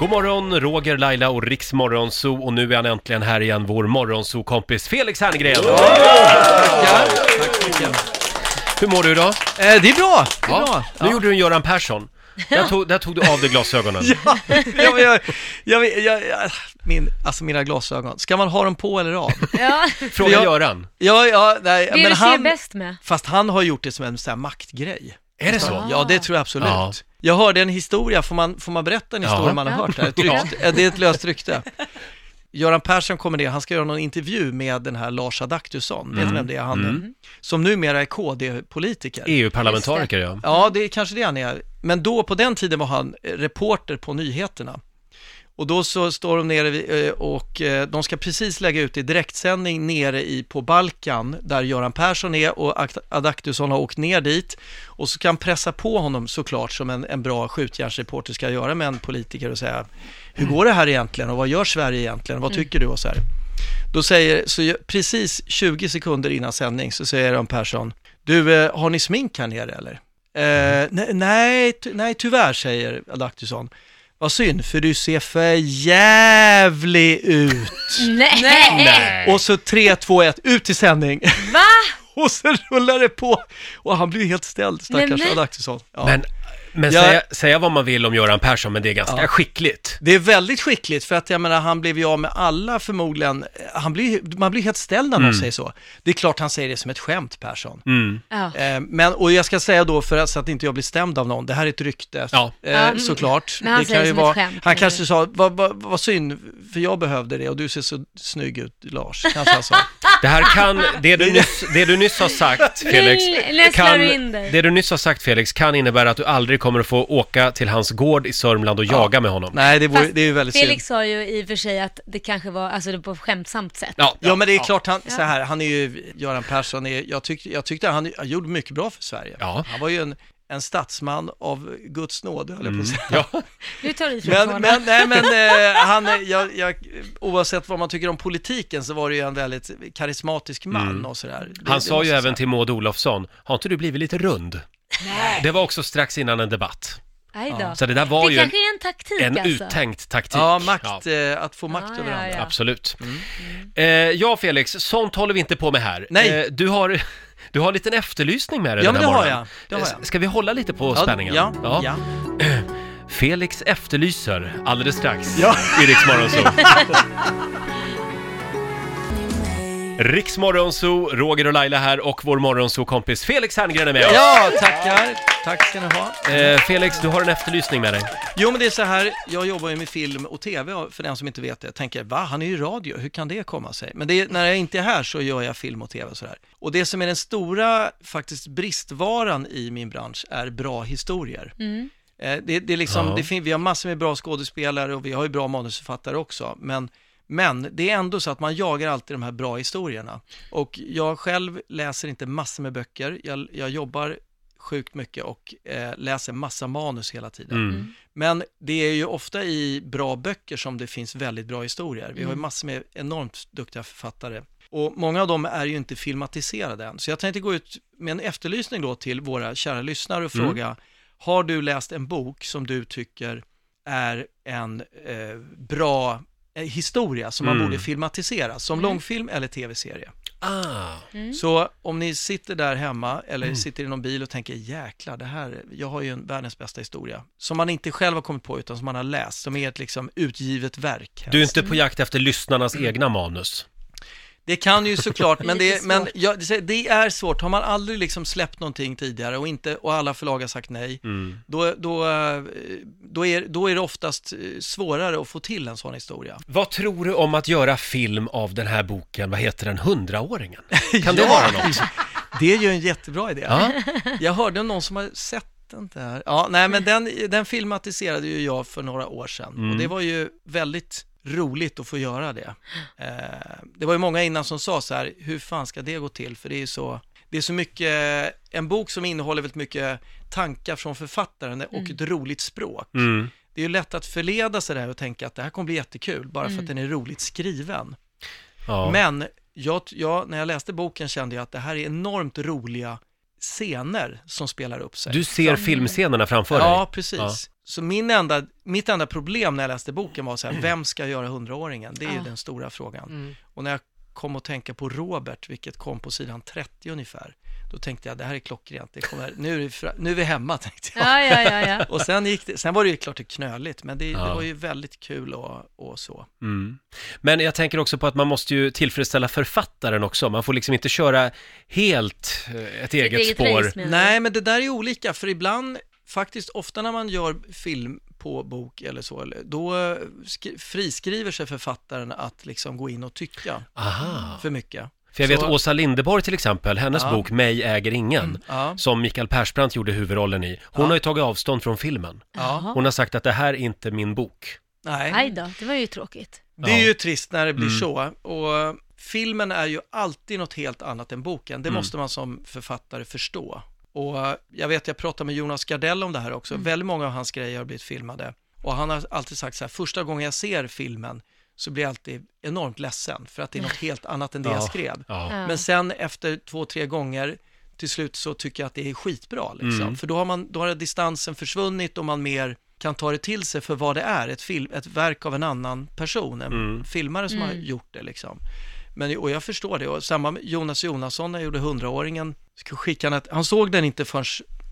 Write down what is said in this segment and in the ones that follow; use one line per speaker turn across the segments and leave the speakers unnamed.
God morgon, Roger, Laila och Riksmorgonzoo och nu är han äntligen här igen, vår morgonzoo-kompis Felix Herngren! Hur mår du idag?
Eh, det är bra! Det är bra.
Nu gjorde du en Göran Persson. Där tog, där tog du av dig glasögonen.
Ja, jag, jag, jag, jag, jag, min, alltså mina glasögon, ska man ha dem på eller av?
Ja,
Fråga
Ja.
Göran.
Ja, ja, nej,
det du
men
ser
han,
bäst med.
fast han har gjort det som en sån här maktgrej.
Är det så?
Ja, det tror jag absolut.
Ja.
Jag hörde en historia, får man, får man berätta en historia
Ja.
man
Ja.
har hört här? Ett
Ja.
rykte, eh, Det är ett löst rykte. Göran Persson kommer ner, han ska göra någon intervju med den här Lars Adaktusson,
Mm.
vet du vem det är han är?
Mm.
Som numera är KD-politiker.
E EU-parlamentariker, ja.
Ja, det är kanske det han är. Men då, på den tiden var han eh, reporter på nyheterna. Och då så står de nere vid, eh, och eh, de ska precis lägga ut i direktsändning nere i, på Balkan, där Göran Persson är och Akt- Adaktusson har åkt ner dit. Och så kan pressa på honom såklart, som en, en bra skjutjärnsreporter ska göra med en politiker och säga, hur går det här egentligen och vad gör Sverige egentligen, vad tycker du och så här. Då säger, så ju- precis 20 sekunder innan sändning så säger Göran Persson, du, eh, har ni smink här nere eller? Eh, ne- nej, ty- nej, tyvärr, säger Adaktusson. Vad synd, för du ser för jävlig ut.
Nej!
Och så 3, 2, 1, ut i sändning.
Va?
Och så rullar det på. Och han blir ju helt ställd, stackars
Nej, men-
Adaktusson. Ja.
Men, men
Ja.
säga, säga vad man vill om Göran Persson, men det är ganska skickligt.
Det är väldigt skickligt för att jag menar han blev ju av med alla förmodligen, han blir, man blir helt ställd när någon säger så. Det är klart han säger det som ett skämt Persson.
Ja.
Eh, Men, och jag ska säga då för att, så att inte jag blir stämd av någon, det här är ett rykte
Ja.
eh,
Ja. mm.
såklart.
Men han
det
säger det som ett
vara,
skämt,
Han
eller?
kanske sa, vad vad- vad synd, för jag behövde det och du ser så snygg ut Lars, kanske han sa.
Det här kan, det du nyss, det du nyss har sagt Felix,
Nu läslar
kan,
du in dig.
det du nyss har sagt Felix kan innebära att du aldrig kommer att få åka till hans gård i Sörmland och jaga med honom.
Nej, det, vore,
Fast
det är ju väldigt synd.
Felix sa ju i och för sig att det kanske var, alltså det var på ett skämtsamt sätt.
Ja,
Ja, men det är klart, han, så här, han är ju, Göran Persson, är, jag, tyck, jag tyckte han, han gjorde mycket bra för Sverige.
Ja.
Han var ju en, en statsman av Guds nåd, höll jag
Mm.
på att säga.
Nu tar du ifrån honom.
Men, men, nej, men eh, han, är- jag, jag, oavsett vad man tycker om politiken så var det ju en väldigt karismatisk man och sådär. Det-
Mm. Han
det
sa
måste
ju
jag
även
säga.
till Maud Olofsson, har inte du blivit lite rund? Nej. Det var också strax innan en debatt.
Aj då.
Så det där var
det
ju en,
kanske är en taktik
en
alltså.
uttänkt taktik.
Ja, Mm. makt,
Ja,
eh, att få makt
Ja,
över
ja,
andra.
ja.
absolut. Eh, ja, Felix, sånt håller vi inte på med här.
Nej.
Eh, du har... Du har en liten efterlysning med dig
Ja,
den här
men det har
morgonen. Eh,
jag. Det har jag.
S- Ska vi hålla lite på spänningen?
Ja, ja, ja.
Felix efterlyser alldeles strax
Ja.
i Rix Morgonzoo. Rix Morgonzoo, Roger och Laila här och vår morgonzoo-kompis Felix Herngren är med oss.
ja, tackar. Tack ska ni ha.
Eh, Felix, du har en efterlysning med dig.
Jo, men det är så här, jag jobbar ju med film och tv för den som inte vet det. Jag tänker, va, han är ju i radio, hur kan det komma sig? Men det är, när jag inte är här så gör jag film och tv och sådär. Och det som är den stora, faktiskt, bristvaran i min bransch är bra historier. Eh, Det, det är liksom,
Ja.
det fin- vi har massor med bra skådespelare och vi har ju bra manusförfattare också, men men det är ändå så att man jagar alltid de här bra historierna. Och jag själv läser inte massor med böcker, jag, jag jobbar sjukt mycket och eh, läser massa manus hela tiden.
Mm.
Men det är ju ofta i bra böcker som det finns väldigt bra historier. Vi har ju massor med enormt duktiga författare. Och många av dem är ju inte filmatiserade än. Så jag tänkte gå ut med en efterlysning då till våra kära lyssnare och fråga, har du läst en bok som du tycker är en eh, bra eh, historia som
Mm.
man borde filmatisera, som långfilm eller tv-serie?
Ah.
Så om ni sitter där hemma eller sitter i någon bil och tänker jäklar, det här, jag har ju en världens bästa historia. Som man inte själv har kommit på utan som man har läst, som är ett liksom utgivet verk.
Du är inte på jakt efter lyssnarnas egna manus.
Det kan ju såklart, men, det,
Lite
är- men jag, det är svårt. Har man aldrig liksom släppt någonting tidigare och, inte, och alla förlag har sagt nej, då, då, eh, då, är, då är det oftast eh, svårare att få till en sån historia.
Vad tror du om att göra film av den här boken, vad heter den, Hundraåringen? Kan det
Ja.
vara något?
Det är ju en jättebra idé.
Ja.
Jag hörde någon som har sett den där. Ja, nej, men den, den filmatiserade ju jag för några år sedan och det
Mm.
var ju väldigt roligt att få göra det. Eh, det var ju många innan som sa så här, hur fan ska det gå till? För det är ju så, det är så mycket, en bok som innehåller väldigt mycket tankar från författaren och ett roligt språk.
Mm.
Det är ju lätt att förleda sig där och tänka att det här kommer bli jättekul bara för att den är roligt skriven.
Ja.
Men jag, jag, när jag läste boken kände jag att det här är enormt roliga scener som spelar upp sig.
Du ser filmscenerna framför dig?
Ja, precis.
Ja.
Så min enda, mitt enda problem när jag läste boken var så här, vem ska göra hundraåringen? Det är ju
Ja.
den stora frågan.
Mm.
Och när jag kom att tänka på Robert, vilket kom på sidan 30 ungefär, då tänkte jag det här är klockrent, det kommer, nu, är vi fra, nu är vi hemma tänkte jag.
Ja, ja, ja, ja.
Och sen, gick det, sen var det ju klart det knöligt, men det,
Ja.
det var ju väldigt kul och, och så.
Mm. Men jag tänker också på att man måste ju tillfredsställa författaren också. Man får liksom inte köra helt eh, ett
Ditt
eget spår.
race, menar du?
Nej, men det där är olika, för ibland, faktiskt ofta när man gör film på bok eller så, eller- då eh, skri- friskriver sig författaren att liksom gå in och tycka
Aha.
för mycket.
För jag vet
Så-
Åsa Linderborg till exempel, hennes
Ja.
bok Mig äger ingen,
Ja,
som Mikael Persbrandt gjorde huvudrollen i. Hon
Ja.
har ju tagit avstånd från filmen.
ja,
Hon har sagt att det här är inte min bok.
Aj
nej.
då, det var ju tråkigt.
Det är
Ja.
ju trist när det blir
Mm.
så. Och filmen är ju alltid något helt annat än boken. Det
Mm.
måste man som författare förstå. Och eh, jag vet, jag pratade med Jonas Gardell om det här också. Väldigt många av hans grejer har blivit filmade. Och han har alltid sagt så här, första gången jag ser filmen så blir jag alltid enormt ledsen för att det är något helt annat än det
Ja.
jag skrev.
Ja.
Ja.
Men sen efter två, tre gånger till slut så tycker jag att det är skitbra. Liksom.
Mm.
För då har, man, då har distansen försvunnit och man mer kan ta det till sig för vad det är, ett, film, ett verk av en annan person, en
Mm.
filmare som har gjort det. Liksom. Men, och jag förstår det. Och samma med Jonas Jonasson när jag gjorde 100-åringen, så skickade han, ett, han såg den inte förrän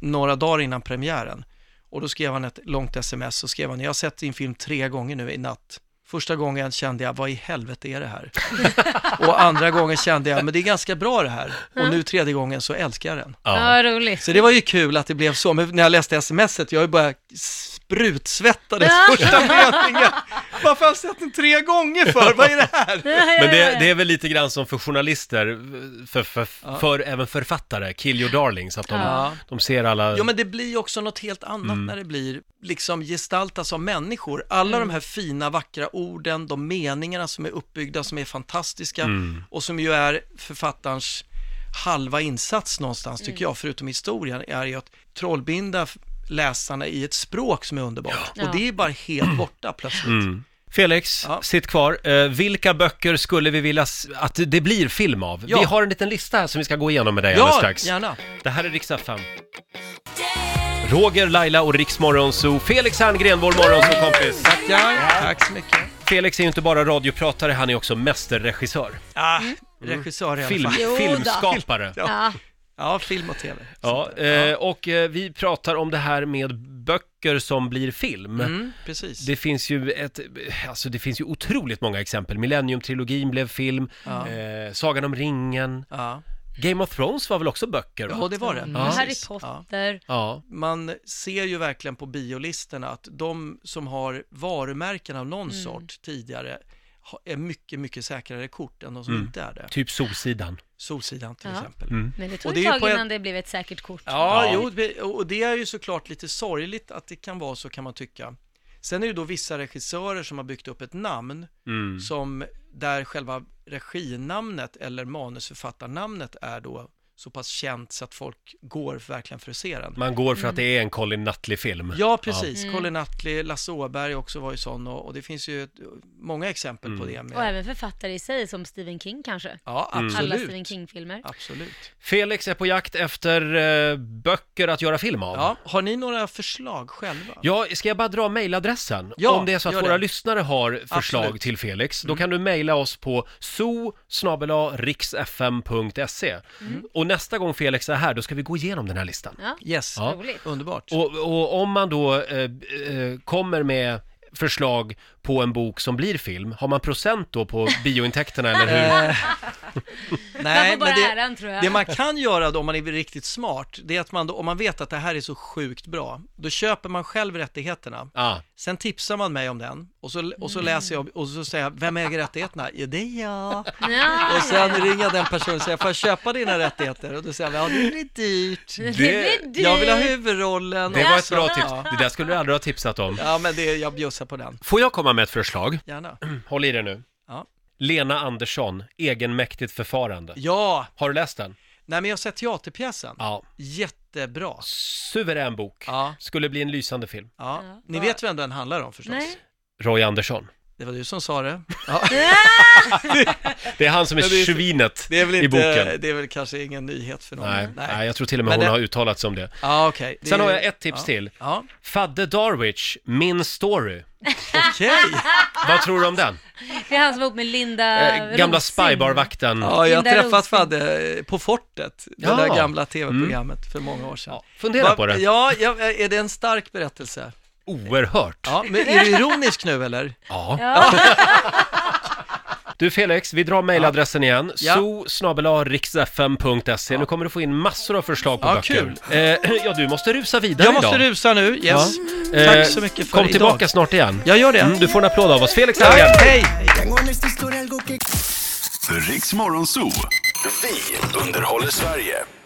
några dagar innan premiären. Och då skrev han ett långt sms och skrev han, jag har sett din film tre gånger nu i natt. Första gången kände jag, vad i helvete är det här? och andra gången kände jag, men det är ganska bra det här. Och nu tredje gången så älskar jag den.
Ja.
Ja, roligt.
Så det var ju kul att det blev så, men när jag läste smset, jag är bara sprutsvettades första meningen. Varför har jag sett den tre gånger för? Vad är det här?
Men det, det är väl lite grann som för journalister, för, för,
Ja.
för även författare, kill your darlings, att de,
Ja.
de ser alla...
Ja, men det blir ju också något helt annat
Mm.
när det blir liksom gestaltas av människor. Alla
Mm.
de här fina, vackra orden, de meningarna som är uppbyggda, som är fantastiska
Mm.
och som ju är författarens halva insats någonstans,
Mm.
tycker jag, förutom historien, är ju att trollbinda f- läsarna i ett språk som är underbart.
Ja.
Och det är bara helt borta plötsligt.
Mm. Felix,
Ja.
sitt kvar. Eh, vilka böcker skulle vi vilja s- att det blir film av?
Ja.
Vi har en liten lista här som vi ska gå igenom med dig alldeles
Ja,
strax.
gärna.
Det här är Riksdag 5. Roger, Laila och Riksmorgonzoo. Felix Herngren, vår morgonzoo-kompis.
Tackar. Tack så mycket.
Felix är ju inte bara radiopratare, han är också mästerregissör.
Ah,
Mm.
regissör i alla
Film,
fall.
Jo då.
filmskapare.
Ja.
Ja,
Ja, film och tv.
Ja, eh, och eh, vi pratar om det här med böcker som blir film.
Mm, precis.
eh, Det finns ju ett, alltså det finns ju otroligt många exempel. Millennium-trilogin blev film,
Ja.
eh, Sagan om ringen,
Ja.
Game of Thrones var väl också böcker? Va?
Ja, det var det.
Ja.
Mm, Harry
Precis. Ja.
Potter.
Ja,
Man ser ju verkligen på biolistorna att de som har varumärken av någon sort tidigare ha- är mycket, mycket säkrare kort än de som inte är det.
typ Solsidan.
Solsidan till
Ja.
exempel.
Men det
Och
tog
det
ett
är ju
tag
på en-
innan det blev ett säkert kort.
Ja,
Ja.
Jo, det- och det är ju såklart lite sorgligt att det kan vara så kan man tycka. Sen är det då vissa regissörer som har byggt upp ett namn
Mm.
som där själva reginamnet eller manusförfattarnamnet är då så pass känt så att folk går verkligen för att se den.
Man går för att det är en Colin Nutley-film.
Ja, precis.
Mm.
Colin Nutley, Lasse Åberg också var ju sån och, och det finns ju ett, många exempel
Mm.
på det.
Och
Med,
även författare i sig, som Stephen King kanske.
ja,
Alla
absolut.
Stephen King-filmer.
Absolut.
Felix är på jakt efter eh, böcker att göra film av.
Ja, har ni några förslag själva?
Ja, ska jag bara dra mailadressen?
Ja,
Om det är så att
gör
våra
det.
lyssnare har förslag
Absolut. Mm.
till Felix, då kan du mejla oss på so.riksfm.se.
Mm.
Och nästa gång Felix är här, då ska vi gå igenom den här listan.
Ja,
Yes,
Ja.
roligt.
underbart.
Och, och om man då eh, eh, kommer med förslag på en bok som blir film, har man procent då på biointäkterna eller hur?
Eh.
Man får bara äran, tror jag.
det man kan göra då om man är riktigt smart, det är att man då, om man vet att det här är så sjukt bra, då köper man själv rättigheterna.
Ja,
Sen tipsar man mig om den och så, och
Mm.
så läser jag och så säger jag, vem äger rättigheterna? Ja, det är jag.
Ja,
Och sen ringer jag den personen och säger, får jag köpa dina rättigheter? Och då säger han, ja det blir dyrt.
det
det-
blir dyrt.
Jag vill ha huvudrollen.
det var ett
också.
bra tips.
Ja.
Det där skulle du aldrig ha tipsat om.
Ja, men det, jag bjussar på den.
Får jag komma med ett förslag?
Gärna.
Mm. Håll i dig nu.
Ja.
Lena Andersson, egenmäktigt förfarande.
Ja,
Har du läst den?
nej men jag har sett teaterpjäsen.
Ja.
Jättebra.
Suverän bok.
Ja,
Skulle bli en lysande film.
ja.
Ja.
Ni vet vem den handlar om förstås?
Nej.
Roy Andersson.
Det var du som sa det. Ja,
Det är han som är
Ja, det är-
svinet
det är väl
i boken.
inte, det är väl kanske ingen nyhet för någon.
Nej, nej, jag tror till och med
Men
hon
det-
har uttalat sig om det.
Ja, okej. Det
Sen
är-
har jag ett tips
ja.
till.
Ja,
Fadde Darwich, Min Story.
okej.
Vad tror du om den?
Det är han som var ihop med Linda
Eh, gamla
Rosing.
Spybar-vakten.
Ja, jag har
Linda
träffat
Rosing.
Fadde eh, på fortet, det
Ja. Mm.
där gamla tv-programmet för många år sedan.
Ja, fundera
Va-
på det.
Ja, ja, är det en stark berättelse?
Oerhört.
Ja, men är du ironisk nu eller?
Ja.
Ja,
Du Felix, vi drar mejladressen igen.
Ja.
zoo riksfm.se. e. Nu kommer du få in massor av förslag på
Ja,
böcker. Eh, ja, du måste rusa vidare
Jag måste
idag.
rusa nu, yes.
Eh,
Tack så mycket för
Kom
idag.
tillbaka snart igen.
Jag gör det.
Mm, du får en applåd av oss. Felix här igen.
Tack, hej!
Tengo en esta historia algo que
Riks Morgonzoo. Vi underhåller Sverige.